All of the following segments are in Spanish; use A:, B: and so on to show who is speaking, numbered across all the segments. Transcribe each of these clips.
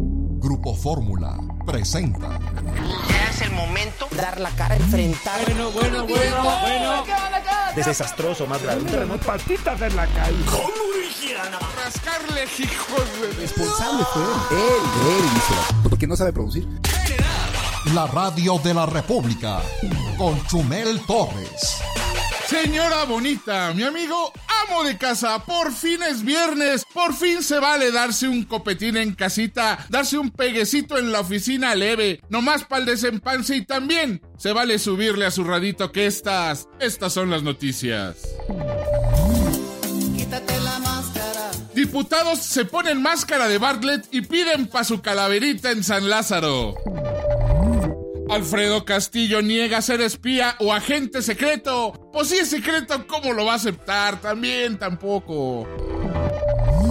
A: Grupo Fórmula presenta.
B: Ya es el momento.
C: dar la cara, enfrentar.
D: Bueno, bueno, bueno, bueno.
E: desastroso más grave.
F: responsable fue él. Él, él hizo la- Porque no sabe producir.
A: La radio de la República con Chumel Torres.
G: Señora bonita, mi amigo amo de casa, por fin es viernes, por fin se vale darse un copetín en casita, darse un peguecito en la oficina leve, nomás para el desempance y también se vale subirle a su radito que estas, estas son las noticias. Diputados se ponen máscara de Bartlett y piden pa' su calaverita en San Lázaro. Alfredo Castillo niega ser espía o agente secreto. Pues si es secreto, ¿cómo lo va a aceptar? También tampoco.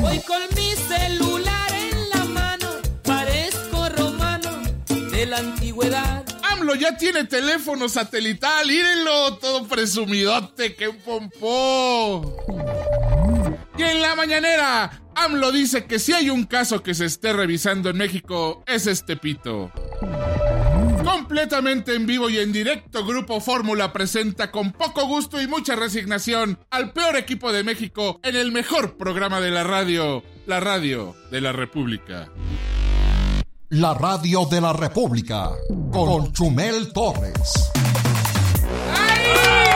D: Voy con mi celular en la mano. Parezco romano de la antigüedad.
G: AMLO ya tiene teléfono satelital, írenlo, todo presumidote, que pompó. Y en la mañanera, AMLO dice que si hay un caso que se esté revisando en México, es este pito. Completamente en vivo y en directo, Grupo Fórmula presenta con poco gusto y mucha resignación al peor equipo de México en el mejor programa de la radio, la radio de la República.
A: La radio de la República con Chumel Torres.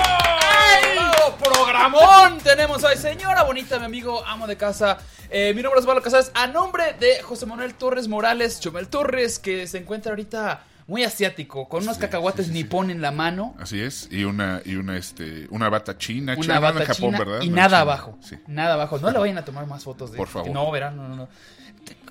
H: ¡Bravo! programón tenemos hoy. Señora bonita, mi amigo, amo de casa. Eh, mi nombre es Pablo Casares. A nombre de José Manuel Torres Morales, Chumel Torres, que se encuentra ahorita muy asiático, con unos cacahuates nipón en la mano,
G: Así es, y una, y una, este, una bata china,
H: una
G: china, no
H: bata
G: de Japón,
H: china
G: ¿verdad?
H: y
G: No,
H: nada
G: china.
H: abajo.
G: Sí.
H: Nada abajo. No le vayan a tomar más fotos de este.
G: Por favor.
H: No, verán, no, no, no.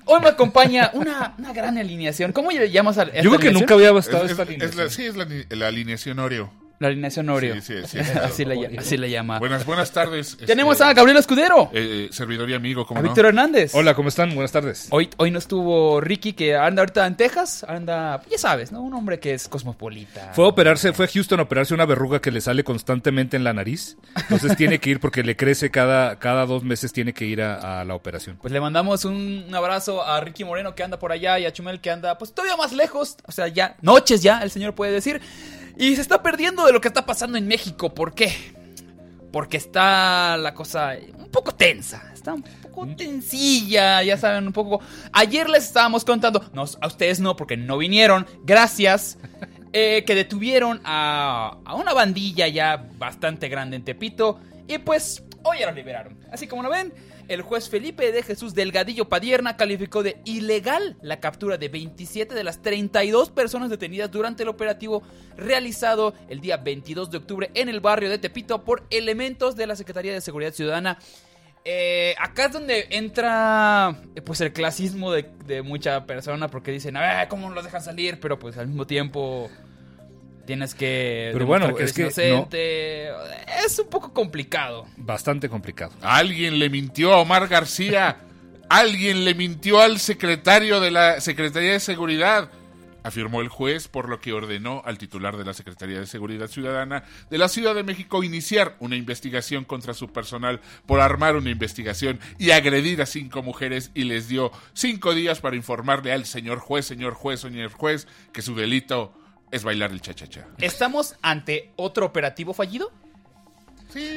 H: Hoy me acompaña una, una gran alineación. ¿Cómo le llamas a
E: Yo creo que nunca había
G: Es,
E: bastado
G: es-
E: esta
G: es la-
E: alineación.
G: sí, es la, ni- la alineación Oreo.
H: La alineación Oreo.
G: Sí, sí, sí, sí.
H: así, la, ll- así la llama.
G: Buenas, buenas tardes. este,
H: Tenemos a Gabriel Escudero,
G: eh, servidor y amigo,
H: a
G: ¿cómo no?
H: Víctor Hernández.
E: Hola, ¿cómo están? Buenas tardes.
H: Hoy, hoy no estuvo Ricky, que anda ahorita en Texas. Anda, ya sabes, ¿no? Un hombre que es cosmopolita.
E: Fue a operarse, fue a Houston a operarse una verruga que le sale constantemente en la nariz. Entonces tiene que ir porque le crece cada, cada dos meses, tiene que ir a, a la operación.
H: Pues le mandamos un un abrazo a Ricky Moreno que anda por allá y a Chumel que anda pues todavía más lejos. O sea, ya, noches ya, el señor puede decir. Y se está perdiendo de lo que está pasando en México. ¿Por qué? Porque está la cosa un poco tensa. Está un poco tensilla, ya saben, un poco. Ayer les estábamos contando, no, a ustedes no, porque no vinieron, gracias. eh, que detuvieron a, a una bandilla ya bastante grande en Tepito. Y pues hoy ya lo liberaron. Así como lo ven, el juez Felipe de Jesús Delgadillo Padierna calificó de ilegal la captura de 27 de las 32 personas detenidas durante el operativo realizado el día 22 de octubre en el barrio de Tepito por elementos de la Secretaría de Seguridad Ciudadana. Eh, acá es donde entra eh, pues el clasismo de, de mucha persona porque dicen, ah, ¿cómo los dejan salir? Pero pues al mismo tiempo tienes que...
E: Pero bueno,
H: demostrar
E: es que
H: eres inocente. Es un poco complicado.
E: Bastante complicado.
G: Alguien le mintió a Omar García. Alguien le mintió al secretario de la Secretaría de Seguridad. Afirmó el juez, por lo que ordenó al titular de la Secretaría de Seguridad Ciudadana de la Ciudad de México iniciar una investigación contra su personal por armar una investigación y agredir a cinco mujeres y les dio cinco días para informarle al señor juez, señor juez, señor juez, que su delito es bailar el cha-cha-cha.
H: ¿Estamos ante otro operativo fallido?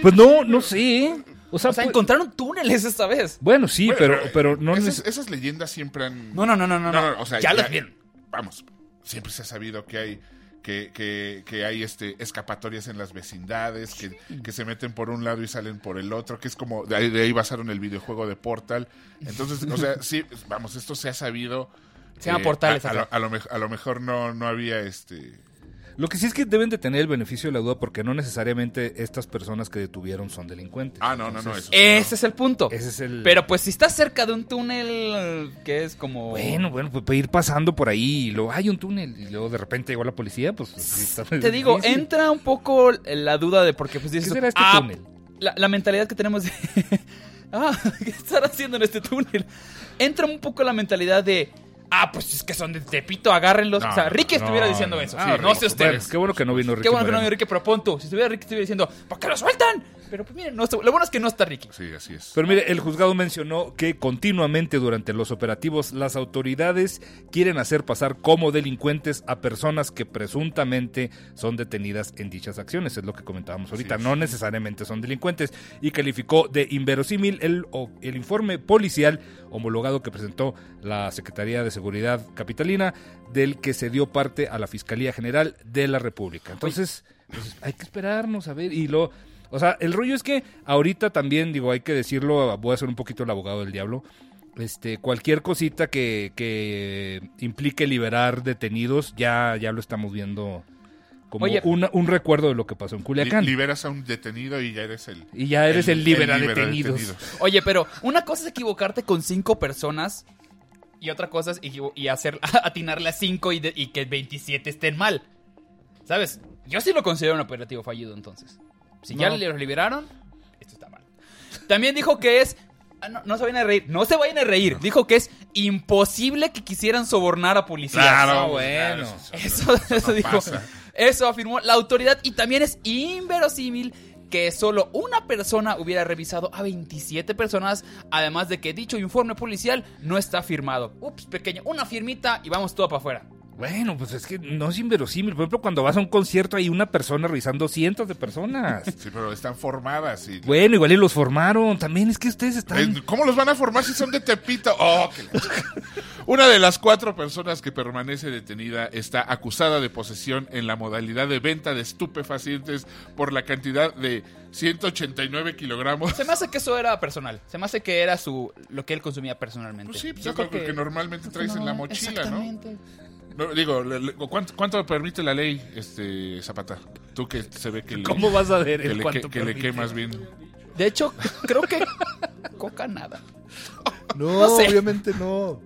E: Pues no, no sé. O sea,
H: O sea,
E: pues-
H: encontraron túneles esta vez.
E: bueno, sí,
G: Bueno, eh,
E: pero, pero no
G: esas,
E: neces-
G: esas leyendas siempre han.
H: No, no, no, no, no, no.
G: o sea,
H: Ya las vieron.
G: Vamos, siempre se ha sabido que hay. Que, que, que hay este escapatorias en las vecindades, que, que se meten por un lado y salen por el otro, que es como de ahí, de ahí basaron el videojuego de Portal. Entonces, o sea, sí, vamos, esto se ha sabido. eh,
H: Se llama Portal esa
G: A, a
H: cosa.
G: lo, a lo mej- a lo mejor no, no había este.
E: Lo que sí es que deben de tener el beneficio de la duda porque no necesariamente estas personas que detuvieron son delincuentes.
G: Ah, no, no, no, eso.
H: Ese es el punto.
E: Ese es el...
H: Pero pues si estás cerca de un túnel eh, que es como...
E: Bueno, bueno, pues para ir pasando por ahí y luego hay un túnel y luego de repente llegó la policía, pues... sí está
H: Te digo,
E: difícil.
H: entra un poco la duda de porque pues dices...
E: ¿Qué será este
H: "Ah,
E: túnel?
H: La, la mentalidad que tenemos de... ah, ¿qué están haciendo en este túnel? Entra un poco la mentalidad de... Ah, pues es que son de Tepito, agárrenlos.
G: No,
H: o sea, Ricky
E: no,
H: estuviera
E: no,
H: diciendo
E: no.
H: eso.
E: Ah,
H: Sí, no
E: Ricky.
H: sé ustedes.
E: Bueno, qué bueno que no vino Ricky.
H: Qué bueno que no
E: Moreno.
H: vino Ricky, pero pon tú. Si estuviera Ricky, estuviera diciendo, ¿por qué lo sueltan? Pero pues miren, no está- lo bueno es que no está Ricky.
G: Sí, así es.
E: Pero mire, el juzgado mencionó que continuamente durante los operativos las autoridades quieren hacer pasar como delincuentes a personas que presuntamente son detenidas en dichas acciones, es lo que comentábamos ahorita,
G: es.
E: no necesariamente son delincuentes, y calificó de inverosímil el, o- el informe policial homologado que presentó la Secretaría de Seguridad Capitalina, del que se dio parte a la Fiscalía General de la República. Entonces, pues, hay que esperarnos a ver, y lo... O sea, el rollo es que ahorita también, digo, hay que decirlo, voy a ser un poquito el abogado del diablo. Este, cualquier cosita que, que implique liberar detenidos, ya, ya lo estamos viendo como
H: Oye.
E: una- un recuerdo de lo que pasó en
G: Li-
E: Culiacán.
G: liberas a un detenido y ya eres el.
E: y ya eres el, libera detenidos.
G: detenido.
H: Oye, pero una cosa es equivocarte con cinco personas y otra cosa es equivo- y hacer, atinarle a cinco y, de- y que 27 estén mal. ¿Sabes? Yo sí lo considero un operativo fallido entonces. Si ya
E: No.
H: los liberaron, esto está mal. También dijo que es... ah, No, no se vayan a reír, no se vayan a reír. Dijo que es imposible que quisieran sobornar a policías.
G: Claro,
E: Ah, bueno.
G: claro,
H: Eso, eso
G: no
H: dijo.
G: pasa.
H: Eso afirmó la autoridad y también es inverosímil que solo una persona hubiera revisado a 27 personas, además de que dicho informe policial no está firmado. Ups, pequeño, una firmita y vamos todo para afuera.
E: Bueno, pues es que no es inverosímil. Por ejemplo, cuando vas a un concierto hay una persona revisando cientos de personas.
G: Sí, pero están formadas. Y...
E: bueno, igual y los formaron. También es que ustedes están...
G: Eh, ¿Cómo los van a formar si son de Tepito? Oh, que la- Una de las cuatro personas que permanece detenida está acusada de posesión en la modalidad de venta de estupefacientes por la cantidad de 189 kilogramos.
H: Se me hace que eso era personal. Se me hace que era su lo que él consumía personalmente.
G: Pues sí, pues es lo que, normalmente traes en la mochila, ¿no?
H: Exactamente.
G: No, Digo, le- le- ¿cuánto, cuánto permite la ley, este Zapata? Tú que se ve que le,
E: ¿Cómo vas a ver
G: que
E: el
G: le,
E: cuánto
G: que- que le
E: permite?
G: quemas bien.
H: De hecho, creo que coca nada.
F: No,
H: No sé.
F: obviamente no.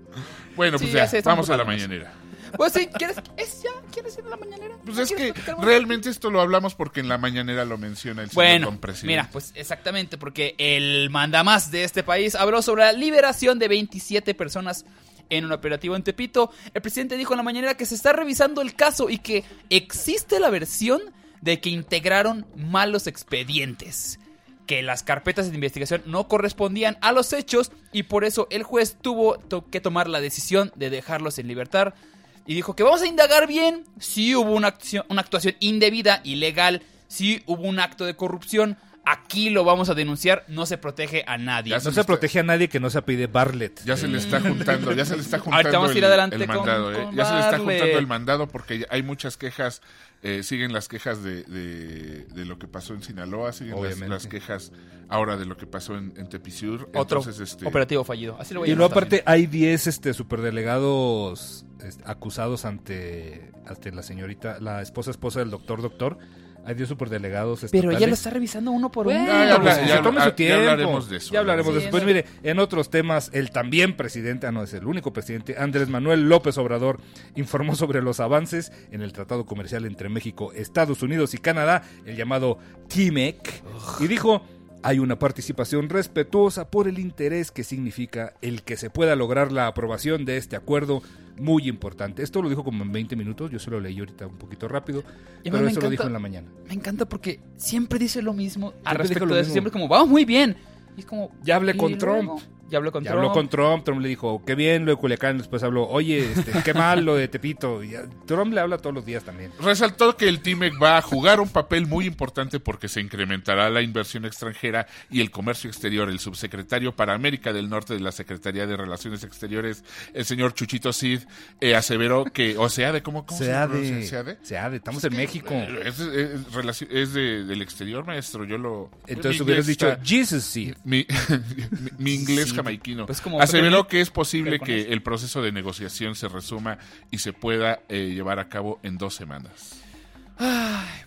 G: Bueno,
H: Sí,
G: pues
H: ya
G: ya,
H: sé, está un
G: vamos
H: poco
G: a la
H: menos.
G: mañanera.
H: Pues sí, ¿quieres, es ya? ¿Quieres ir a la mañanera?
G: Pues
H: ¿No
G: es
H: quieres
G: que
H: platicar más?
G: realmente esto lo hablamos porque en la mañanera lo menciona el señor
H: Bueno,
G: compresidente.
H: mira, pues exactamente, porque el mandamás de este país habló sobre la liberación de 27 personas en un operativo en Tepito. El presidente dijo en la mañana que se está revisando el caso y que existe la versión de que integraron malos expedientes, que las carpetas de investigación no correspondían a los hechos y por eso el juez tuvo to- que tomar la decisión de dejarlos en libertad. Y dijo que vamos a indagar bien si hubo una acción- una actuación indebida, ilegal, si hubo un acto de corrupción. Aquí lo vamos a denunciar, no se protege a nadie.
G: Ya
E: No se protege a nadie que no se apide Bartlett.
G: Ya se le
E: Mm.
G: está juntando, ya se le está juntando
H: Ahorita vamos a
G: el,
H: ir adelante
G: el
H: con-
G: mandado, ¿eh?
H: con
G: Ya se le está
H: Barlet.
G: juntando el mandado porque ya hay muchas quejas, eh, siguen las quejas de, de, de lo que pasó en Sinaloa, siguen las,
E: Obviamente.
G: las quejas ahora de lo que pasó en, en Tepisur.
H: Otro
G: Entonces, este,
H: operativo fallido. Así lo voy a
E: Y luego
H: llamar
E: aparte hay 10 este, superdelegados este, acusados ante, ante la señorita, la esposa esposa del doctor doctor. Hay 10 superdelegados
H: también. Pero ya lo
E: estatales.
H: está revisando uno por
E: Bueno,
H: uno.
G: Ah, Ya, ya
E: pues,
G: habla-
E: que
G: ya
E: se tome
G: habla-
E: su
G: ya
E: tiempo.
G: hablaremos de eso.
E: Ya hablaremos de
H: Sí,
E: eso. Pues
H: no.
E: mire, en otros temas, el también presidente, ah, no es el único presidente, Andrés Manuel López Obrador, informó sobre los avances en el tratado comercial entre México, Estados Unidos y Canadá, el llamado TIMEC, y dijo. Hay una participación respetuosa por el interés que significa el que se pueda lograr la aprobación de este acuerdo muy importante. Esto lo dijo como en 20 minutos, yo se lo leí ahorita un poquito
H: Y
E: rápido,
H: a mí
E: pero
H: me
E: eso
H: encanta-
E: lo dijo en la mañana.
H: Me encanta porque siempre dice lo mismo al
E: Siempre dijo
H: respecto
E: lo
H: de eso.
E: mismo.
H: Siempre como, vamos muy bien. Y es como,
E: Ya hablé
H: ¿y
E: con
H: luego?
E: Trump.
H: Ya habló con
E: Ya
H: Trump.
E: habló con Trump, Trump le dijo, qué bien lo de Culiacán, después habló, oye, este, qué mal lo de Tepito. Y, ah, Trump le habla todos los días también.
G: Resaltó que el TIMEC va a jugar un papel muy importante porque se incrementará la inversión extranjera y el comercio exterior. El subsecretario para América del Norte de la Secretaría de Relaciones Exteriores, el señor Chuchito Cid, eh, aseveró que, o sea, de cómo, cómo se, pronuncia? ¿SEADE?
E: SEADE, estamos en México.
G: Es, es relaci- es de- del exterior, maestro. Yo lo.
E: Entonces
G: mi
E: hubieras
G: inglés
E: dicho,
G: está-
E: Jesus sí.
G: Mi, mi- mi inglés
H: Sí,
G: jamaiquino.
H: pues como-
G: Aseveró que es posible
H: pero con
G: que
H: eso.
G: el proceso de negociación se resuma y se pueda eh, llevar a cabo en dos semanas.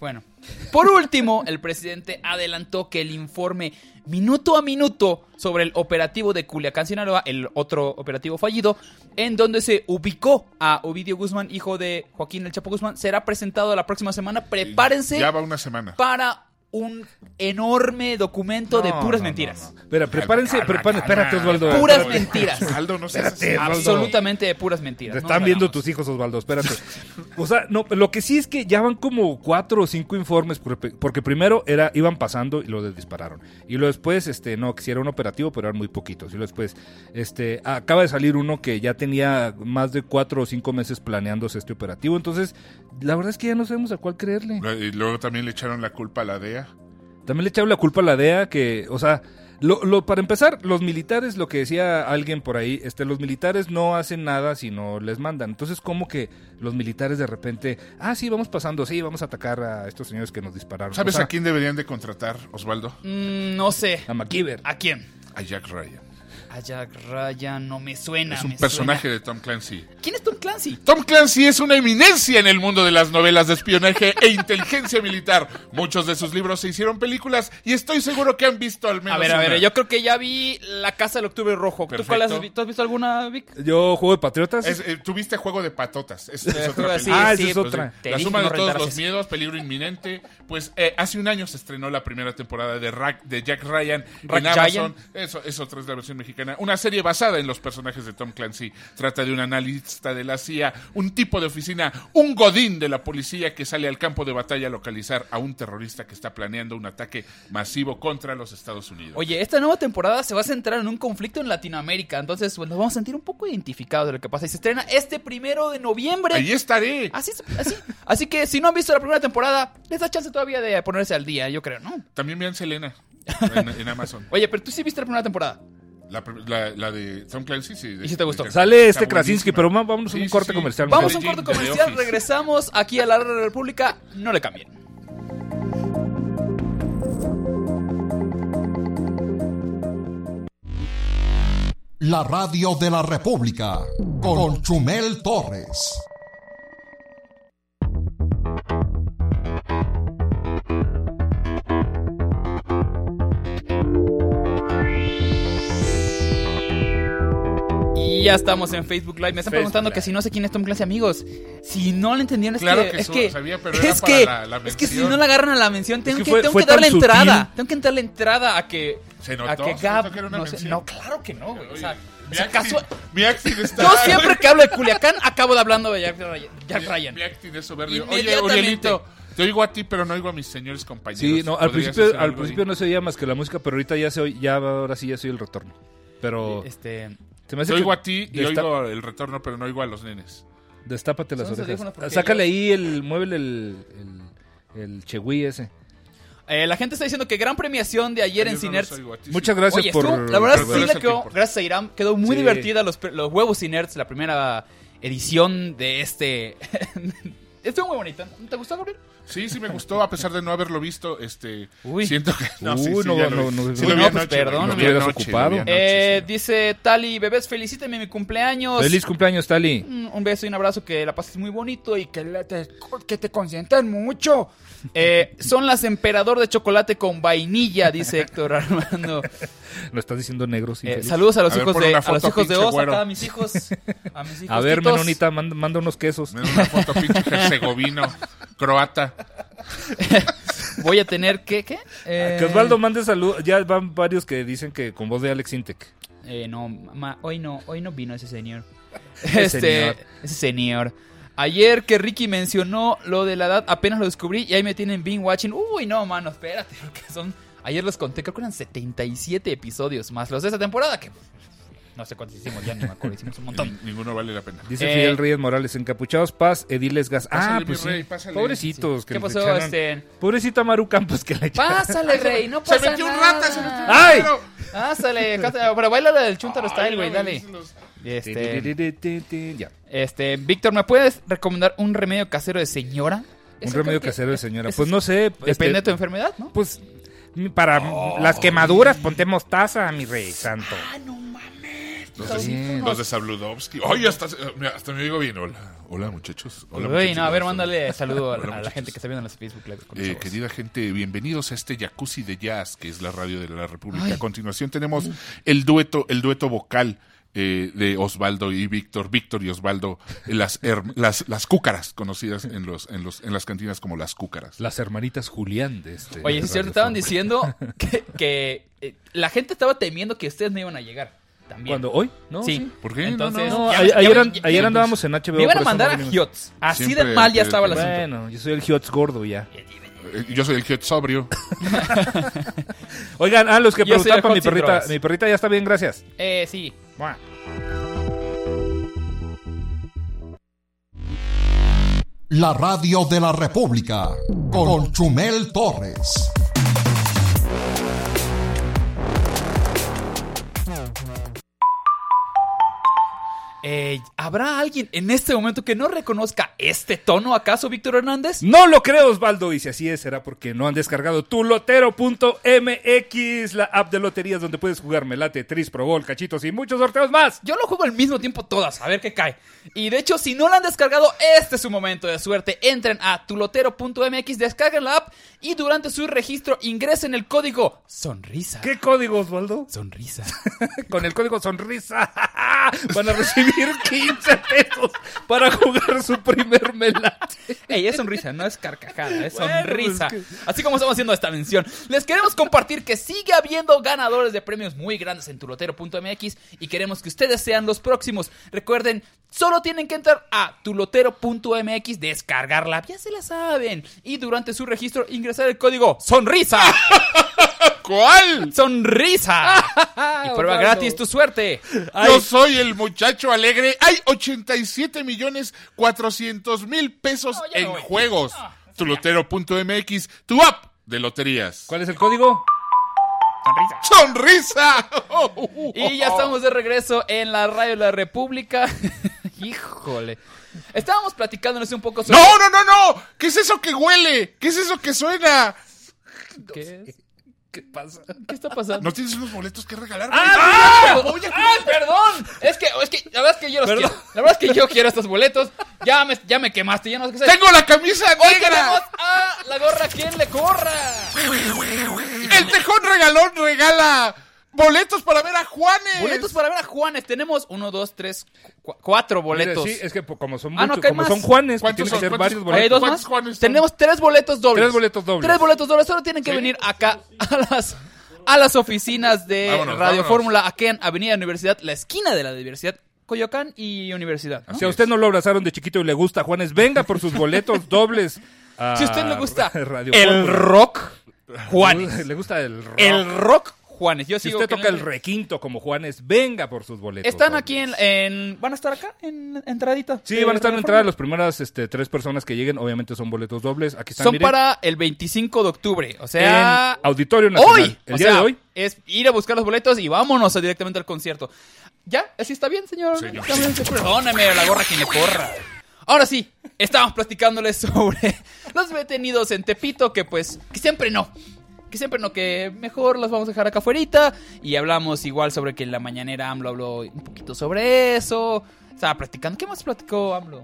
H: Bueno, por último, el presidente adelantó que el informe minuto a minuto sobre el operativo de Culiacán, Sinaloa, el otro operativo fallido, en donde se ubicó a Ovidio Guzmán, hijo de Joaquín El Chapo Guzmán, será presentado la próxima semana. Prepárense
G: Ya va una semana.
H: para un enorme documento de
E: No,
H: puras
E: no,
H: mentiras.
E: no, no. Espera, prepárense,
G: Calma,
E: prepárense.
G: calma.
E: Espérate, Osvaldo.
H: Puras
E: espérate.
H: mentiras.
G: Aldo, no seas así.
E: Espérate, Osvaldo.
H: Absolutamente de puras mentiras.
E: Te
H: No
E: están
H: nos
E: viendo
H: hagamos.
E: tus hijos, Osvaldo, espérate. O sea, no, lo que sí es que ya van como cuatro o cinco informes, porque porque primero era, iban pasando y los dispararon. Y luego después, este, no, que sí era un operativo, pero eran muy poquitos. Y luego después, este, acaba de salir uno que ya tenía más de cuatro o cinco meses planeándose este operativo. Entonces, la verdad es que ya no sabemos a cuál creerle.
G: Y luego también le echaron la culpa a la DEA.
E: También le echaron la culpa a la DEA, que, o sea, lo, lo- para empezar, los militares, lo que decía alguien por ahí, este, los militares no hacen nada si no les mandan. Entonces, como que los militares de repente, ah, sí, vamos pasando, sí, vamos a atacar a estos señores que nos dispararon.
G: ¿Sabes
E: O sea,
G: a quién deberían de contratar, Osvaldo?
H: Mm, no sé.
E: A McKeever.
H: ¿A quién?
G: A Jack Ryan.
H: A Jack Ryan, no me suena.
G: Es un
H: Ah, me
G: personaje de Tom Clancy.
H: suena. ¿Quién es Tom Clancy?
G: Tom Clancy es una eminencia en el mundo de las novelas de espionaje e inteligencia militar. Muchos de sus libros se hicieron películas y estoy seguro que han visto al menos.
H: A ver, a
G: una.
H: ver, yo creo que ya vi La Casa del Octubre Rojo. ¿Tú,
G: Perfecto.
H: cuál has, vi- tú has visto alguna, Vic?
E: Yo juego de Patriotas.
G: Es, eh, Tuviste juego de patotas. Es, es
H: Eh,
G: otra
H: juego así,
G: película.
E: Ah, esa sí, es
G: Pues
E: otra.
G: sí.
H: Te
G: La
H: dije
G: suma
H: no
G: de todos
H: rentaras
G: los
H: eso.
G: miedos, peligro inminente. Pues eh, hace un año se estrenó la primera temporada de, Rack- de Jack Ryan en
H: Rack
G: Amazon. Eso, eso otra es la versión mexicana. Una serie basada en los personajes de Tom Clancy. Trata de un analista de la CIA, un tipo de oficina, un godín de la policía que sale al campo de batalla a localizar a un terrorista que está planeando un ataque masivo contra los Estados Unidos.
H: Oye, esta nueva temporada se va a centrar en un conflicto en Latinoamérica. Entonces, pues, nos vamos a sentir un poco identificados de lo que pasa. Y se estrena este primero de noviembre.
G: Ahí estaré.
H: Así, es- así, así que si no han visto la primera temporada, les da chance todavía de ponerse al día, yo creo, ¿no?
G: También vean Selena en, en Amazon.
H: Oye, pero tú sí viste la primera temporada.
G: La, pr- la- la de Tom Clancy, sí. de-
H: ¿Y si te gustó?
G: de-
E: Sale
G: está
E: este Krasinski,
G: buenísima.
E: pero ma- vámonos a un
G: Sí, sí,
E: corte
G: sí.
E: comercial.
H: Vamos a un
E: muchachos.
H: corte
G: Jim de The
H: comercial,
G: Office.
H: regresamos aquí a la Radio República. No le cambien.
A: La radio de la República. Con Chumel Torres.
H: Y ya estamos en Facebook Live. Me están
E: Facebook
H: preguntando
E: Live.
H: que si no sé quién es Tom Clancy, amigos. Si no le entendieron, es
G: Claro
H: que,
G: que
H: es
G: su-
H: que,
G: sabía, pero era
H: es,
G: para
H: que
G: la- la
H: es que si
G: mención.
H: no le agarran a la mención, tengo
E: que
H: que,
E: fue-
H: tengo
E: fue
H: que darle
E: tan sutil.
H: entrada. Tengo que darle entrada a que.
G: Se notó,
H: a que
G: se
H: Gab.
G: notó que era una
H: no, sé-
G: mención.
H: no, claro que no, güey. O sea,
G: Mi
H: si
G: acting-
H: acaso-
G: Mi acting está.
H: yo siempre que hablo de Culiacán, acabo de hablando de Jack Ryan. Jack
G: Mi-
H: Ryan.
G: Mi acting es soberbio. Oye,
H: Inmediatamente.
G: Urielito, te oigo a ti, pero no oigo a mis señores compañeros.
E: Sí, no, al
G: ¿Podrías
E: principio,
G: hacer
E: al
G: algo ahí?
E: principio no se oía más que la música, pero ahorita ya se oye, ya ahora sí ya soy el retorno. Pero
H: Este.
E: se me hace
G: Te oigo
E: que-
G: a ti y
E: desta-
G: oigo el retorno, pero no oigo a los nenes.
E: Destápate las
H: Son los
E: orejas.
H: audífonos porque
E: Sácale
H: ellos-
E: ahí el. Muévele el. El, el chegüí ese.
H: eh, la gente está diciendo que gran premiación de ayer en
G: Yo no
H: Ciners.
G: los oigo a ti,
E: Muchas
G: sí.
E: gracias
H: Oye,
E: por.
H: estuvo- la verdad
G: por
H: sí
G: ver.
H: le
G: Eso
H: quedó,
G: que importa.
H: gracias a Irán, quedó muy
E: Sí.
H: divertida los, pre- los huevos y nerds, la primera edición de este... estuvo muy bonita. ¿Te gustó, Gabriel?
G: Sí, sí me gustó, a pesar de no haberlo visto. Este,
H: Uy.
G: siento que. No,
E: Uy, Uh,
G: sí, sí,
E: no,
G: ya lo
E: no,
G: vi. Sí
E: no, no,
G: lo vi
H: no, pues,
G: anoche, güey,
H: perdón,
G: lo
H: me
G: vi
E: hubieras
G: anoche,
E: ocupado.
G: lo vi anoche,
H: Eh,
G: sí.
H: dice Tali, bebés, felicíteme mi cumpleaños.
E: Feliz cumpleaños, Tali.
H: Mm, Un beso y un abrazo, que la pases muy bonito y que, la- te, que te consientan mucho. Eh, son las emperador de chocolate con vainilla, dice Héctor Armando.
E: Lo estás diciendo negro, sí.
H: Eh,
E: feliz.
H: saludos a los
G: A ver,
H: hijos
G: pon
H: de
G: una
H: a los
G: foto,
H: hijos de
G: pinche
H: Oz,
G: güero.
H: acá a mis hijos, a mis hijos.
E: A ver, Menonita, manda, manda unos quesos.
G: Me da una foto pinche herzegovino, croata.
H: Voy a tener que. ¿Qué? Eh,
E: Que Osvaldo mande saludos. Ya van varios que dicen que con voz de Alex Intec.
H: eh, no, ma- hoy no, hoy no vino ese señor.
E: Ese
H: Este,
E: señor.
H: ese señor. Ayer que Ricky mencionó lo de la edad, apenas lo descubrí y ahí me tienen being watching. Uy, no, mano, espérate, porque son. Ayer los conté, creo que eran 77 episodios más los de esta temporada que. No sé cuántos hicimos, ya ni me acuerdo, hicimos un montón.
G: Ni- Ninguno vale la pena.
E: Dice
H: Eh.
E: Fidel Reyes Morales. Encapuchados Paz, Ediles Gas. Ah,
G: Pásale,
E: pues
G: mi rey,
E: sí.
G: pásale.
E: Pobrecitos. Que
H: ¿Qué
E: les
H: pasó,
E: echaron.
H: este?
E: Pobrecita Maru Campos que le echaron.
H: Pásale, rey, no
G: Se
H: pasa
G: metió un
H: Pues nada.
G: rata, se metió un
E: ¡Ay!
G: ratero.
H: Pásale, cásale, ah, pero baila la del Chuntaro Style,
G: Ay,
H: güey,
G: no,
H: dale.
G: dicen los-
H: Este,
E: Ya.
H: Este, Víctor, ¿me puedes recomendar un remedio casero de señora?
E: Un
H: Eso creo
E: remedio
H: que
E: casero de señora.
H: es-
E: Pues no sé.
H: Depende de
E: este,
H: tu enfermedad, ¿no?
E: Pues para las quemaduras, ponte mostaza, mi rey santo.
G: Los de, los de Sabludovsky. Oye, hasta, eh, mira, hasta me digo bien. Hola, hola muchachos. Hola,
H: Uy,
G: muchachos.
H: no, a ver, mándale saludo
G: Hola,
H: a, a la
G: muchachos.
H: gente que está viendo en las Facebook Live. con
G: Eh,
H: esa voz.
G: querida gente, bienvenidos a este Jacuzzi de Jazz, que es la radio de la República. A continuación tenemos el dueto, el dueto vocal eh, de Osvaldo y Víctor, Víctor y Osvaldo, eh, las, her- las, las cúcaras, conocidas en, los, en, los, en las cantinas como las cúcaras.
E: Las hermanitas Julián de
G: eh,
E: este.
H: Oye, sí es cierto, estaban diciendo que, que, eh, la gente estaba temiendo que ustedes no iban a llegar. También.
E: Cuando hoy, ¿no?
H: Sí.
G: ¿Por qué? No,
H: Entonces,
E: No,
H: ya-
E: a-
H: ya-
E: ayer, an-
H: ya-
E: ayer andábamos en HBO.
H: Me iban a
E: por eso
H: mandar
E: no
H: a
E: vinimos.
H: Giots. Así de
G: Siempre
H: mal ya
G: te-
H: estaba el asunto.
E: Bueno, yo soy el Giots gordo ya.
G: Eh, Yo soy el que sobrio.
E: Oigan, a los que
H: Yo soy
E: preguntaban
H: el
E: para mi
H: Hot Sin
E: perrita.
H: Drogas.
E: Mi perrita ya está bien, gracias.
H: Eh, sí.
E: Mua.
A: La radio de la República con Chumel Torres.
H: Eh, ¿Habrá alguien en este momento que no reconozca este tono, acaso, Víctor Hernández?
E: No lo creo, Osvaldo. Y si así es, será porque no han descargado tu lotero.mx, la app de loterías donde puedes jugar Melate, Tris, Pro Bowl, Cachitos y muchos sorteos más.
H: Yo lo juego al mismo tiempo todas, a ver qué cae. Y de hecho, si no la han descargado, este es su momento de suerte. Entren a tulotero.mx, descarguen la app y durante su registro ingresen el código sonrisa.
E: ¿Qué código, Osvaldo?
H: Sonrisa.
E: Con el código sonrisa van a recibir 15 pesos para jugar su primer melate.
H: Ey, es sonrisa, no es carcajada, es
E: Bueno,
H: sonrisa.
E: pues
H: Así como estamos haciendo esta mención, les queremos compartir que sigue habiendo ganadores de premios muy grandes en tulotero.mx y queremos que ustedes sean los próximos. Recuerden, solo tienen que entrar a tulotero.mx, descargarla, ya se la saben, y durante su registro ingresar el código sonrisa.
G: ¿Cuál?
H: ¡Sonrisa! y prueba
E: Ah, Osvaldo.
H: gratis tu suerte.
G: Yo soy el muchacho alegre. Hay 87 millones 400 mil pesos
H: No, ya
G: en
H: me voy. Ah,
G: juegos. Tulotero.mx, tu app de loterías.
E: ¿Cuál es el código?
G: ¡Sonrisa!
H: Y ya estamos de regreso en la radio de la República. Híjole. Estábamos platicándonos un poco sobre...
G: ¡No, no, no, no! ¿Qué es eso que huele? ¿Qué es eso que suena?
H: ¿Qué, es?
E: ¿Qué pasa?
H: ¿Qué está pasando?
G: ¿No tienes unos boletos que regalar?
H: ¡Ah! ¡Ay, perdón! Es que, es que la verdad es que yo los
E: Perdón.
H: quiero. La verdad es que yo quiero estos boletos. Ya me, ya me quemaste, ya no sé qué hacer.
G: ¡Tengo la camisa
H: Hoy tenemos
G: negra!
H: a la gorra quien le corra.
G: ¡El tejón regalón regala boletos para ver a Juanes!
H: Boletos para ver a Juanes. Tenemos uno, dos, tres, cu- cuatro boletos.
E: Sí, es que po- como son,
H: Ah, no,
E: muchos-
H: que hay
E: como
H: más.
E: son Juanes, pues
G: ¿Cuántos
E: tienen que
G: son?
E: ser
G: ¿Cuántos
E: varios
G: son?
H: Oye, ¿hay
E: boletos.
H: dos
G: ¿Cuántos
H: más?
G: Juanes son?
H: Tenemos tres boletos dobles.
E: Tres boletos dobles.
H: Tres boletos dobles. Solo tienen que venir acá a las, a las oficinas de
G: Vámonos,
H: Radio
G: vámonos.
H: Fórmula, aquí en Avenida Universidad, la esquina de la Universidad, Coyoacán y Universidad. ¿no?
E: Si a usted no lo abrazaron de chiquito y le gusta Juanes, venga por sus boletos dobles. a
H: Si a usted le gusta
E: Radio
H: el
E: Fórmula.
H: rock, Juanes.
E: Le gusta el rock.
H: El rock, Juanes. Yo
E: si
H: sigo
E: usted
H: que-
E: toca el requinto como Juanes, venga por sus boletos.
H: Están
E: dobles.
H: aquí en, eh, en- ¿Van a estar acá? En entradita.
E: Sí,
H: de
E: van a estar
H: Radio
E: en la entrada
H: Fórmula.
E: las primeras este, tres personas que lleguen. Obviamente son boletos dobles. Aquí están,
H: Son
E: miren,
H: para el 25 de octubre. O
E: en
H: sea.
E: Auditorio Nacional.
H: Hoy.
E: El
H: o
E: día
H: sea,
E: de hoy.
H: Es ir a buscar los boletos y vámonos directamente al concierto. ¿Ya? ¿Así está bien, señor?
G: Señor.
H: Está bien, Perdóname, la gorra que me corra. Ahora sí, estábamos platicándoles sobre los detenidos en Tepito que pues, que siempre no. Que siempre no, que mejor los vamos a dejar acá afuera. Y hablamos igual sobre que en la mañanera AMLO habló un poquito sobre eso. Estaba platicando. ¿Qué más platicó AMLO?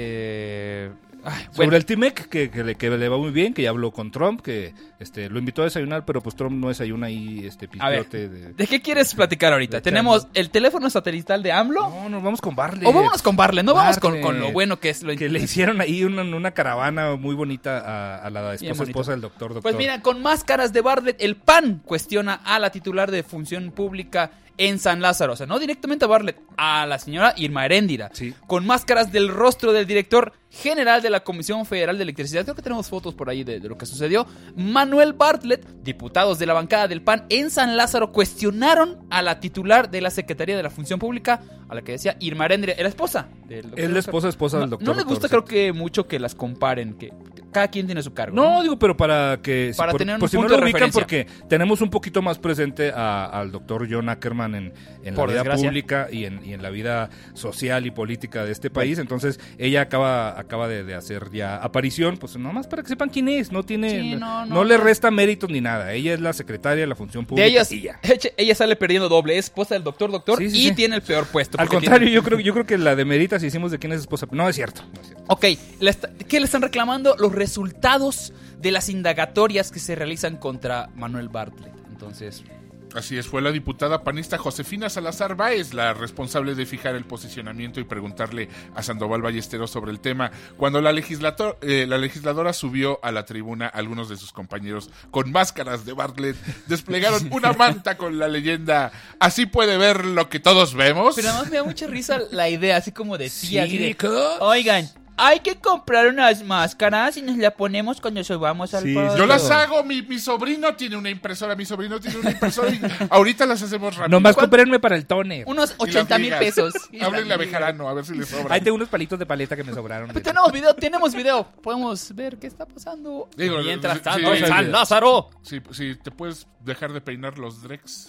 H: De... Ay,
E: Sobre
H: bueno,
E: el T-MEC, que, que le, que le va muy bien, que ya habló con Trump, que este, lo invitó a desayunar, pero pues Trump no desayuna ahí este
H: a ver,
E: pilote de...
H: ¿de qué quieres platicar ahorita?
E: de
H: ¿Tenemos el teléfono satelital de AMLO?
E: No, nos vamos con Barley.
H: O vámonos con Barlet, no vamos con,
E: Barlet.
H: con lo bueno que es lo
E: Que le hicieron ahí una, una caravana muy bonita a, a la
H: Bien
E: esposa,
H: bonito.
E: esposa del doctor, doctor.
H: Pues mira, con máscaras de Bartlett, el PAN cuestiona a la titular de función pública en San Lázaro. O sea, no directamente a Bartlett, a la señora Irma Heréndira.
E: Sí.
H: Con máscaras del rostro del director general de la Comisión Federal de Electricidad. Creo que tenemos fotos por ahí de, de lo que sucedió. Manuel Bartlett, diputados de la bancada del PAN en San Lázaro, cuestionaron a la titular de la Secretaría de la Función Pública, a la que decía Irma Heréndira, era esposa del doctor.
E: Es la esposa, esposa
H: No,
E: del doctor.
H: no le gusta,
E: doctor,
H: creo que mucho que las comparen, que cada quien tiene su cargo.
E: No, digo, pero para que...
H: Para
E: por-
H: tener un
E: por si no
H: punto
E: lo
H: de
E: ubican,
H: referencia.
E: porque tenemos un poquito más presente a- al doctor John Ackerman en, en la
H: Por
E: vida
H: desgracia.
E: pública y en, y en la vida social y política de este país. Entonces, ella acaba acaba de, de hacer ya aparición, pues nomás para que sepan quién es. No tiene...
H: Sí, no, no,
E: le
H: no.
E: resta méritos ni nada. Ella es la secretaria de la función pública.
H: De ellas,
E: y ya.
H: eche- ella sale perdiendo doble. Es esposa del doctor, doctor,
E: Sí, sí,
H: y
E: sí.
H: tiene el peor puesto.
E: Al
H: porque
E: contrario,
H: tiene-
E: yo creo, yo creo que la de Merita si hicimos de quién es esposa. No es cierto. no es cierto.
H: Ok, le está- ¿qué le están reclamando? Los resultados de las indagatorias que se realizan contra Manuel Bartlett. Entonces,
G: Así es, fue la diputada panista Josefina Salazar Báez la responsable de fijar el posicionamiento y preguntarle a Sandoval Ballesteros sobre el tema cuando la, legislator- eh, la legisladora subió a la tribuna algunos de sus compañeros con máscaras de Bartlett desplegaron una manta con la leyenda así puede ver lo que todos vemos
H: Pero además me da mucha risa la idea, así como decía.
E: Sí,
H: así de,
E: ¿cómo?
H: Oigan, hay que comprar unas máscaras y nos la ponemos cuando subamos al
E: Sí,
H: podio".
G: yo las
E: Todo.
G: hago mi, mi sobrino tiene una impresora mi sobrino tiene una impresora y ahorita las hacemos rápido
E: Nomás comprenme para el toner.
H: Unos
G: Y las
H: 80 mil
G: ligas.
H: pesos. Pues
G: Háblenle a Bejarano, a ver si le sobra.
E: Ahí tengo unos palitos de paleta que me sobraron.
H: Pero tenemos video, tenemos video. Podemos ver qué está pasando.
G: Digo,
H: Mientras
G: sí,
H: tanto,
G: sí,
H: en San
G: sí.
H: Lázaro.
G: Si te puedes dejar de peinar los Drex.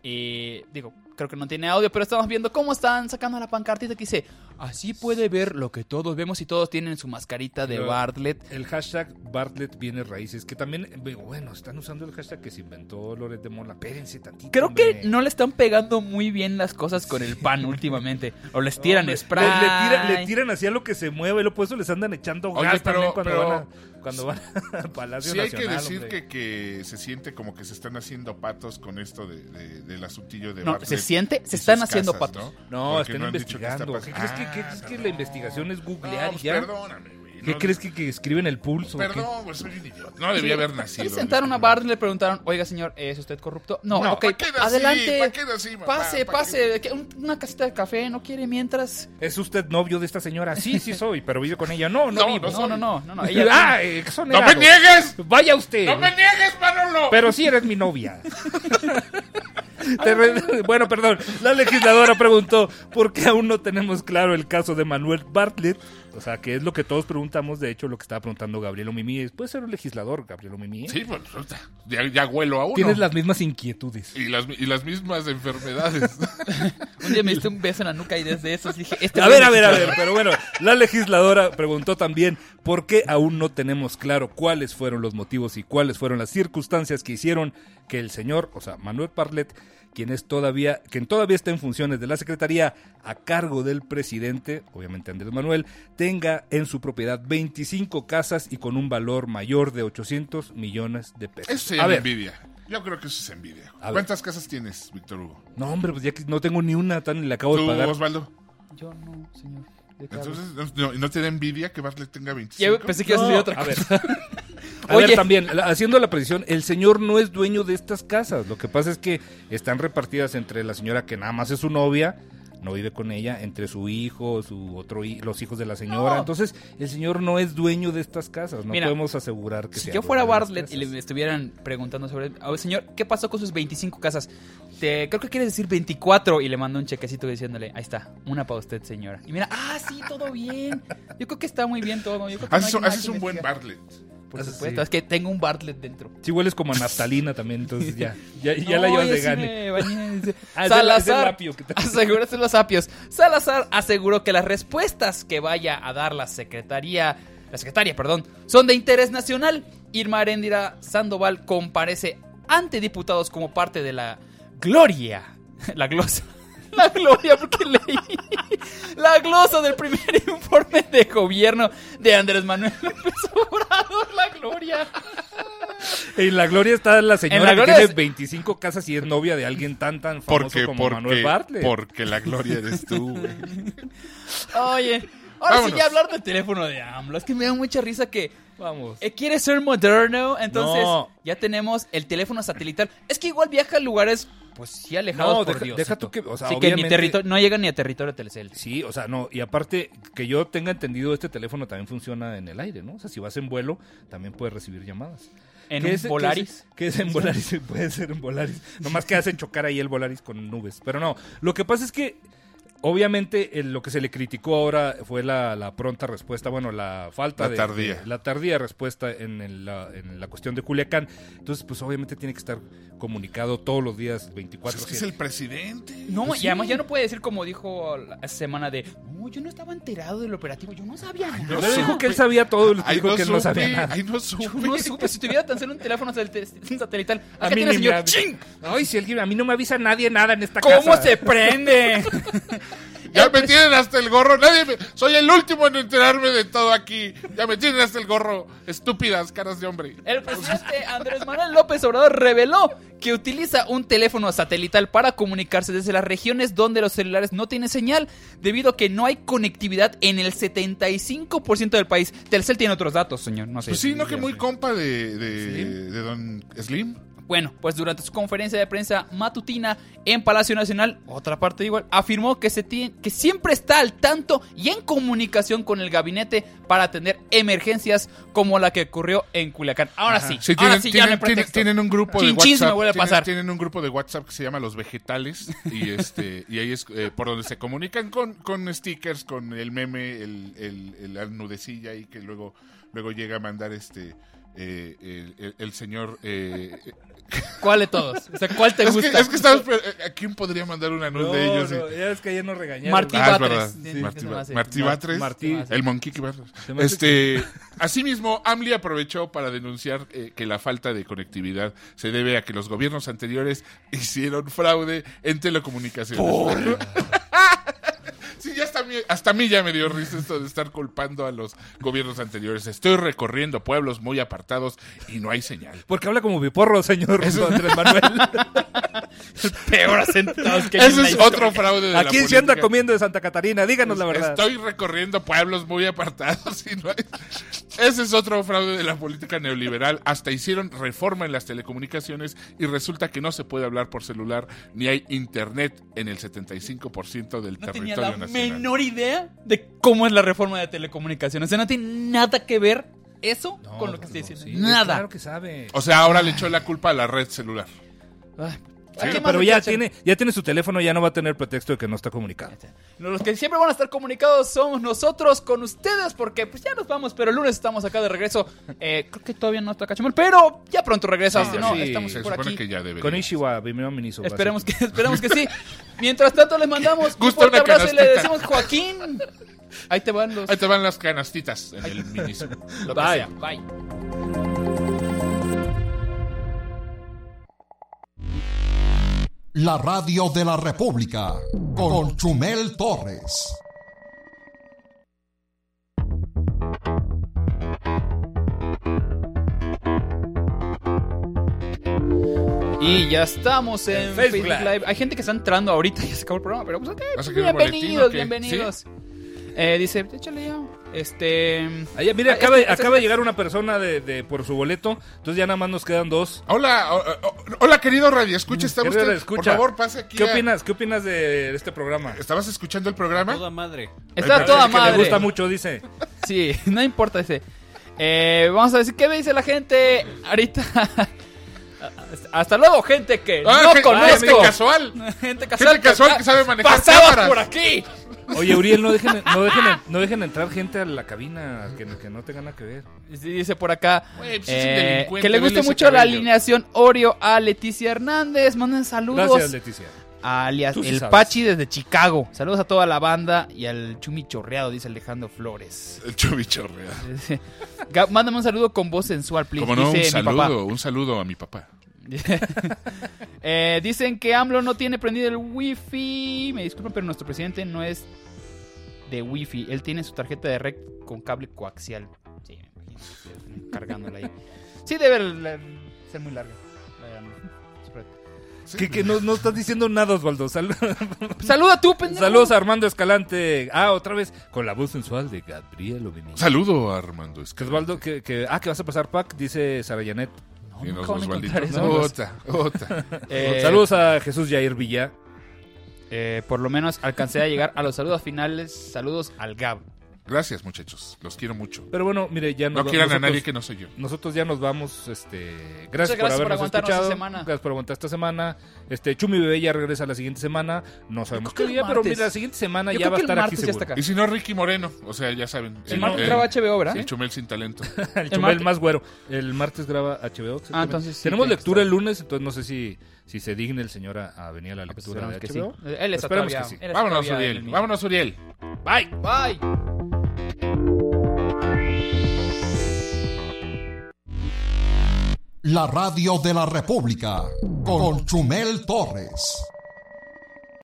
H: Y digo, creo que no tiene audio, pero estamos viendo cómo están sacando la pancartita que dice, así puede ver lo que todos vemos y todos tienen su mascarita de
E: Claro.
H: Bartlett.
E: El hashtag Bartlett viene raíces, que también, eh, bueno, están usando el hashtag que se inventó Loret de Mola. Espérense tantito.
H: Creo que
E: hombre.
H: no le están pegando muy bien las cosas con el pan últimamente. O les tiran
E: Hombre,
H: spray.
E: Le, le tiran, le tiran hacia lo que se mueve, lo por eso les andan echando
G: Oye,
E: gas
G: pero-
E: también cuando
G: pero-
E: van a, cuando van a Palacio
G: Sí hay que
E: Nacional,
G: decir que,
E: hombre.
G: que se siente como que se están haciendo patos con esto de, de- del asuntillo de
H: No,
G: Bartlett
H: se siente, se
G: y
H: están
G: sus
H: haciendo
G: casas,
H: patos.
E: No,
G: Porque
E: están
G: han dicho
E: investigando.
G: qué
E: ¿Qué
G: está
E: crees
G: pasando.
E: que, qué crees que la investigación es googlear
G: No,
E: y
G: pues
E: ya?
G: perdóname, güey.
E: ¿Qué
G: No,
E: crees que, que escriben el pulso? o qué?
G: Perdón, güey, soy un idiota. No debía haber nacido. este
H: Se sentaron a Bartlett, le preguntaron, oiga señor, ¿es usted corrupto? No,
G: No,
H: ok,
G: ¿pa' qué nací?
H: adelante.
G: ¿Pa' qué nací, mamá?
H: pase,
G: ¿Pa' qué?
H: pase, que un- una casita de café, ¿no quiere mientras?
E: ¿Es usted novio de esta señora? Sí, sí soy, pero vive con ella. No, no,
G: No,
E: vivo.
H: No, no, no, no, no,
E: Ah,
H: ella-
E: eh,
G: ¡No
E: exonerado.
G: me niegues!
E: Vaya usted.
G: ¡No me niegues, Manolo!
E: Pero sí eres mi novia. Te re- Bueno, perdón. La legisladora preguntó por qué aún no tenemos claro el caso de Manuel Bartlett. O sea, que es lo que todos preguntamos, de hecho, lo que estaba preguntando Gabriel Omimí. Puede ser un legislador, Gabriel Omimí.
G: Sí, pues, puta, ya, ya huelo a uno.
E: Tienes las mismas inquietudes.
G: Y, las, y las mismas enfermedades.
H: Un día me diste un beso en la nuca y desde eso dije, este
E: A ver, a ver, a ver, pero bueno, la legisladora preguntó también por qué aún no tenemos claro cuáles fueron los motivos y cuáles fueron las circunstancias que hicieron que el señor, o sea, Manuel Parlet, quien es todavía, quien todavía está en funciones de la Secretaría a cargo del presidente, obviamente Andrés Manuel, tenga en su propiedad 25 casas y con un valor mayor de 800 millones de pesos.
G: Eso se
E: a
G: llama
E: ver,
G: envidia. Yo creo que eso es envidia.
E: A ver.
G: ¿Cuántas casas tienes, Víctor Hugo?
E: no hombre, pues ya que no tengo ni una tan le acabo de
G: Tú,
E: pagar.
G: Osvaldo.
H: Yo no, señor. ¿de qué hablas?
G: Entonces, no, no te da envidia que Bartlett tenga
H: Ya
G: 25?
H: pensé que ibas a decir otra
E: a
H: cosa.
E: ver. A
H: Oye.
E: ver, también, la- haciendo la precisión, el señor no es dueño de estas casas. Lo que pasa es que están repartidas entre la señora que nada más es su novia, no vive con ella, entre su hijo, su otro hi- los hijos de la señora.
H: No.
E: Entonces, el señor no es dueño de estas casas. No
H: Mira,
E: podemos asegurar que
H: Si
E: sea
H: yo fuera
E: dueño de las
H: Bartlett y
E: casas.
H: le estuvieran preguntando sobre, a ver, señor, ¿qué pasó con sus 25 casas? Te, creo que quieres decir 24 y le mando un chequecito diciéndole, ahí está, una para usted, señora. Y mira, ah, sí, todo bien. Yo creo que está muy bien todo. Yo creo que no
G: Haces,
H: hay nada
G: haces
H: que
G: un buen
H: investigar.
G: Bartlett.
H: Por
E: Haces-
H: supuesto,
E: Ah, sí.
H: es que tengo un Bartlett dentro.
E: Si hueles como a naftalina también, entonces ya, ya, ya la
H: No,
E: llevas
H: yo
E: de
H: sí
E: gane.
H: me bañé, dice.
E: Ah, es del- es del
H: Salazar
E: apio que te-
H: aseguró es de los apios. Salazar aseguró que las respuestas que vaya a dar la secretaría, la secretaria, perdón, son de interés nacional. Irma Arendira Sandoval comparece ante diputados como parte de la gloria, la glosa. La gloria, porque leí la glosa del primer informe de gobierno de Andrés Manuel López Obrador. La gloria.
E: En la gloria está la señora
H: la gloria
E: que
H: es-
E: tiene 25 casas y es novia de alguien tan tan famoso
G: Porque,
E: como Manuel
G: porque,
E: Bartlett.
G: porque la gloria eres tú, güey.
H: Oye, ahora sí
G: Vámonos.
H: ya hablar del teléfono de AMLO. Es que me da mucha risa que
E: Vamos.
H: eh, quiere ser moderno, entonces
E: No.
H: ya tenemos el teléfono satelital. Es que igual viaja a lugares, pues sí, alejados
E: No,
H: por
E: deja-
H: Dios.
E: deja tú que- o sea,
H: Así que ni
E: obviamente-
H: territorio- no llega ni a territorio de Telecel.
E: Sí, o sea, no, y aparte que yo tenga entendido, este teléfono también funciona en el aire, ¿no? O sea, si vas en vuelo, también puedes recibir llamadas.
H: En
E: ¿Qué
H: un
E: es- qué es-
H: Volaris.
E: ¿Qué es en Volaris? Puede ser en Volaris. Nomás que hace chocar ahí el Volaris con nubes. Pero no, lo que pasa es que, obviamente, eh, lo que se le criticó ahora fue la, la pronta respuesta, bueno, la falta
G: La
E: de-
G: tardía.
E: de- la tardía respuesta en, el- la, en la cuestión de Culiacán. Entonces, pues obviamente tiene que estar comunicado todos los días
G: Pues
E: 24
G: es que es el presidente.
H: No,
E: Pues
H: y además ya no puede decir como dijo la semana de, no, yo no estaba enterado del operativo, yo no sabía nada.
G: no
E: Le dijo
G: supe.
E: que él sabía todo, le
G: Ay,
E: dijo
G: no
E: que él no sabía
G: supe,
E: nada.
G: ay, no
H: Yo
G: supe.
H: no supe, si tuviera tan solo un teléfono satel- satelital,
E: A
H: acá
E: mí
H: tiene
E: ni
H: señor,
E: me avi-
H: ¡Chin!
E: Ay, si alguien, a mí no me avisa nadie nada en esta casa.
H: ¿Cómo se prende?
G: Ya me tienen hasta el gorro. Nadie me- Soy el último en enterarme de todo aquí. Ya me tienen hasta el gorro. Estúpidas caras de hombre.
H: El presidente Andrés Manuel López Obrador reveló que utiliza un teléfono satelital para comunicarse desde las regiones donde los celulares no tienen señal, debido a que no hay conectividad en el 75% del país. Telcel tiene otros datos, señor. No sé.
G: Pues sí, no que muy compa de, de, de Don Slim.
H: Bueno, pues durante su conferencia de prensa matutina en Palacio Nacional, otra parte igual, afirmó que, se tiene- que siempre está al tanto y en comunicación con el gabinete para atender emergencias como la que ocurrió en Culiacán. Ahora sí,
G: Sí,
H: ahora
G: tienen,
H: sí, ya no hay
G: tienen, tienen-
H: pretexto.
G: tienen un grupo de
H: Chin, chin, se
G: WhatsApp.
H: me vuelve a
G: tienen,
H: pasar.
G: tienen un grupo de WhatsApp que se llama Los Vegetales. Y este, y ahí es eh, por donde se comunican con, con stickers, con el meme, el, el, el la nudecilla ahí que luego, luego llega a mandar este eh, el, el- el señor eh,
H: ¿Cuál de todos? O sea, ¿cuál te
G: es,
H: gusta?
G: Que, es que estaba esper- ¿A quién podría mandar una nud
E: No,
G: de ellos?
E: no, ya es que ayer nos regañaron.
H: Martí
G: Ah, es verdad.
H: Batres.
G: Sí. Martí,
H: Se me hace.
G: Martí
H: No,
G: Batres.
E: Martí.
G: El Monkey que Batres.
E: Se me hace
G: Este, asimismo, AMLI aprovechó para denunciar eh, que la falta de conectividad se debe a que los gobiernos anteriores hicieron fraude en telecomunicaciones. Sí, ya hasta, a mí, hasta a mí ya me dio risa esto de estar culpando a los gobiernos anteriores. Estoy recorriendo pueblos muy apartados y no hay señal.
E: Porque habla como mi porro, señor don Andrés Manuel.
H: Peor asentados que
G: Ese
H: en
G: es
H: la
G: otro
H: historia.
G: fraude de
E: ¿A
G: la
E: quién se anda
G: política.
E: comiendo de Santa Catarina? Díganos la verdad.
G: Estoy recorriendo pueblos muy apartados y no hay- Ese es otro fraude de la política neoliberal. Hasta hicieron reforma en las telecomunicaciones y resulta que no se puede hablar por celular ni hay internet en el 75% del
H: No tenía
G: territorio
H: la
G: nacional.
H: menor idea de cómo es la reforma de telecomunicaciones. O sea, no tiene nada que ver eso con lo que estoy diciendo.
E: Sí,
H: nada.
E: Claro que sabe.
G: O sea, ahora le echó la culpa a la red celular.
H: Ay, ¿qué
E: Bueno,
H: más
E: pero
H: le
E: ya
H: echan?
E: tiene, ya tiene su teléfono, ya no va a tener pretexto de que no está comunicado.
H: Los que siempre van a estar comunicados somos nosotros con ustedes, porque pues ya nos vamos, pero el lunes estamos acá de regreso. Eh, creo que todavía no está Cachemol, pero ya pronto regresa. si no,
G: sí,
H: estamos
G: se
H: por
G: supone
H: aquí.
G: que ya debería.
E: Con Ishiwa, primero ministro.
H: Esperemos que, esperemos que sí. Mientras tanto, les mandamos un
G: Gusta una
H: fuerte abrazo y le
G: canastita.
H: decimos, Joaquín, ahí te van los...
G: Ahí te van las canastitas en el minismo.
H: lo que sea. Bye.
A: La radio de la República con Chumel Torres.
H: Y ya estamos en
E: Facebook
H: Facebook Live. Hay gente que está entrando ahorita, ya se acabó el programa, pero pues ok,
G: ¿Vas a querer un boletín o
H: bienvenidos,
G: qué?
H: bienvenidos. Eh, dice, échale ya. Este.
E: Allá, mira,
H: Ah,
E: acaba,
H: este- este-
E: acaba de llegar una persona de, de- por su boleto, entonces ya nada más nos quedan dos.
G: Hola, o- o- hola querido Radio Escucha, ¿está usted?
E: Querido
G: Por
E: radioescucha,
G: favor, pase aquí.
E: ¿Qué
G: a-
E: opinas? ¿Qué opinas de este programa?
G: ¿Estabas escuchando el programa?
C: Toda madre.
H: Está
E: Ay,
H: toda
E: parece que
H: madre.
E: Le gusta mucho, dice.
H: Sí, no importa ese. Eh, vamos a decir, ¿qué me dice la gente ahorita? Hasta luego, gente que
G: Ah,
H: no
G: gente- gente
H: conozco.
G: casual.
H: Gente casual,
G: casual que sabe manejar
H: pasaba
G: cámaras.
H: por aquí.
E: Oye, Uriel, no dejen, no dejen, no dejen entrar gente a la cabina que, que no tenga nada que ver.
H: Sí, dice por acá
G: Güey, pues es un
H: eh,
G: delincuente,
H: que le
G: vele
H: gusta
G: ese
H: mucho la
G: cabello.
H: alineación Oreo a Leticia Hernández. Manden saludos
E: Gracias, Leticia.
H: alias
E: Tú sí
H: El
E: sabes.
H: Pachi desde Chicago. Saludos a toda la banda y al Chumi Chorreado, dice Alejandro Flores.
G: El chubichorrea.
H: Dice, "Gab, Mándame un saludo con voz sensual, please.
G: Como no, un
H: dice mi papá.
G: saludo, un saludo a mi papá.
H: Eh, dicen que AMLO no tiene prendido el wifi. Me disculpan, pero nuestro presidente no es de wifi. Él tiene su tarjeta de red con cable coaxial. Sí, me imagino. Cargándola ahí. Sí, debe la- ser muy larga. la de AMLO, su red.
E: Que, que no, no estás diciendo nada, Osvaldo. Sal-
H: Saluda tú, pendejo.
E: Saludos a Armando Escalante. Ah, otra vez con la voz sensual de Gabriel Obini.
G: Saludo a Armando
E: Que
G: Escalante.
E: Osvaldo, que, que- ah, que vas a pasar pack, dice Sara Janet.
H: No,
G: Y nos
H: nunca van a
G: vemos,
H: encontrar
G: Valdito.
H: eso.
G: Ota, ota.
H: Eh,
E: Saludos a Jesús Jair Villa.
H: Eh, por lo menos alcancé a llegar a los saludos finales. Saludos al Gab.
G: Gracias, muchachos. Los quiero mucho.
E: Pero bueno, mire, ya
G: No
E: nos va-
G: quieran a
E: nosotros-
G: nadie que no soy yo.
E: Nosotros ya nos vamos, este,
H: gracias por
E: gracias, por habernos
H: aguantarnos
E: escuchado,
H: esta semana.
E: gracias por aguantar esta semana, este, Chumi Bebé ya regresa la siguiente semana, no sabemos
H: creo
E: qué
H: que
E: día,
H: el
E: pero
H: martes.
E: mira, la siguiente semana
H: Yo
E: ya
H: creo
E: va a
H: que el
E: estar aquí
H: martes ya está
E: seguro,
H: acá.
G: Y si no, Ricky Moreno. O sea, ya saben.
H: El martes
G: eh,
H: graba HBO, ¿verdad?
G: El Chumel sin talento.
E: el
H: El
E: Chumel
H: martes.
E: más güero, el martes graba HBO, exactamente.
H: Ah, entonces sí,
E: tenemos
H: tiene que
E: lectura
H: estar.
E: el lunes, entonces no sé si, si se digne el señor a, a venir a la
H: Pues
E: lectura
H: esperemos
E: de
H: que sí.
E: HBO.
H: Él está
E: Esperemos
H: todavía-
E: que sí.
H: él está
G: Vámonos,
H: todavía en el
G: Uriel.
H: mío.
G: Vámonos, Uriel.
H: Bye. Bye.
A: La radio de la República con Chumel Torres.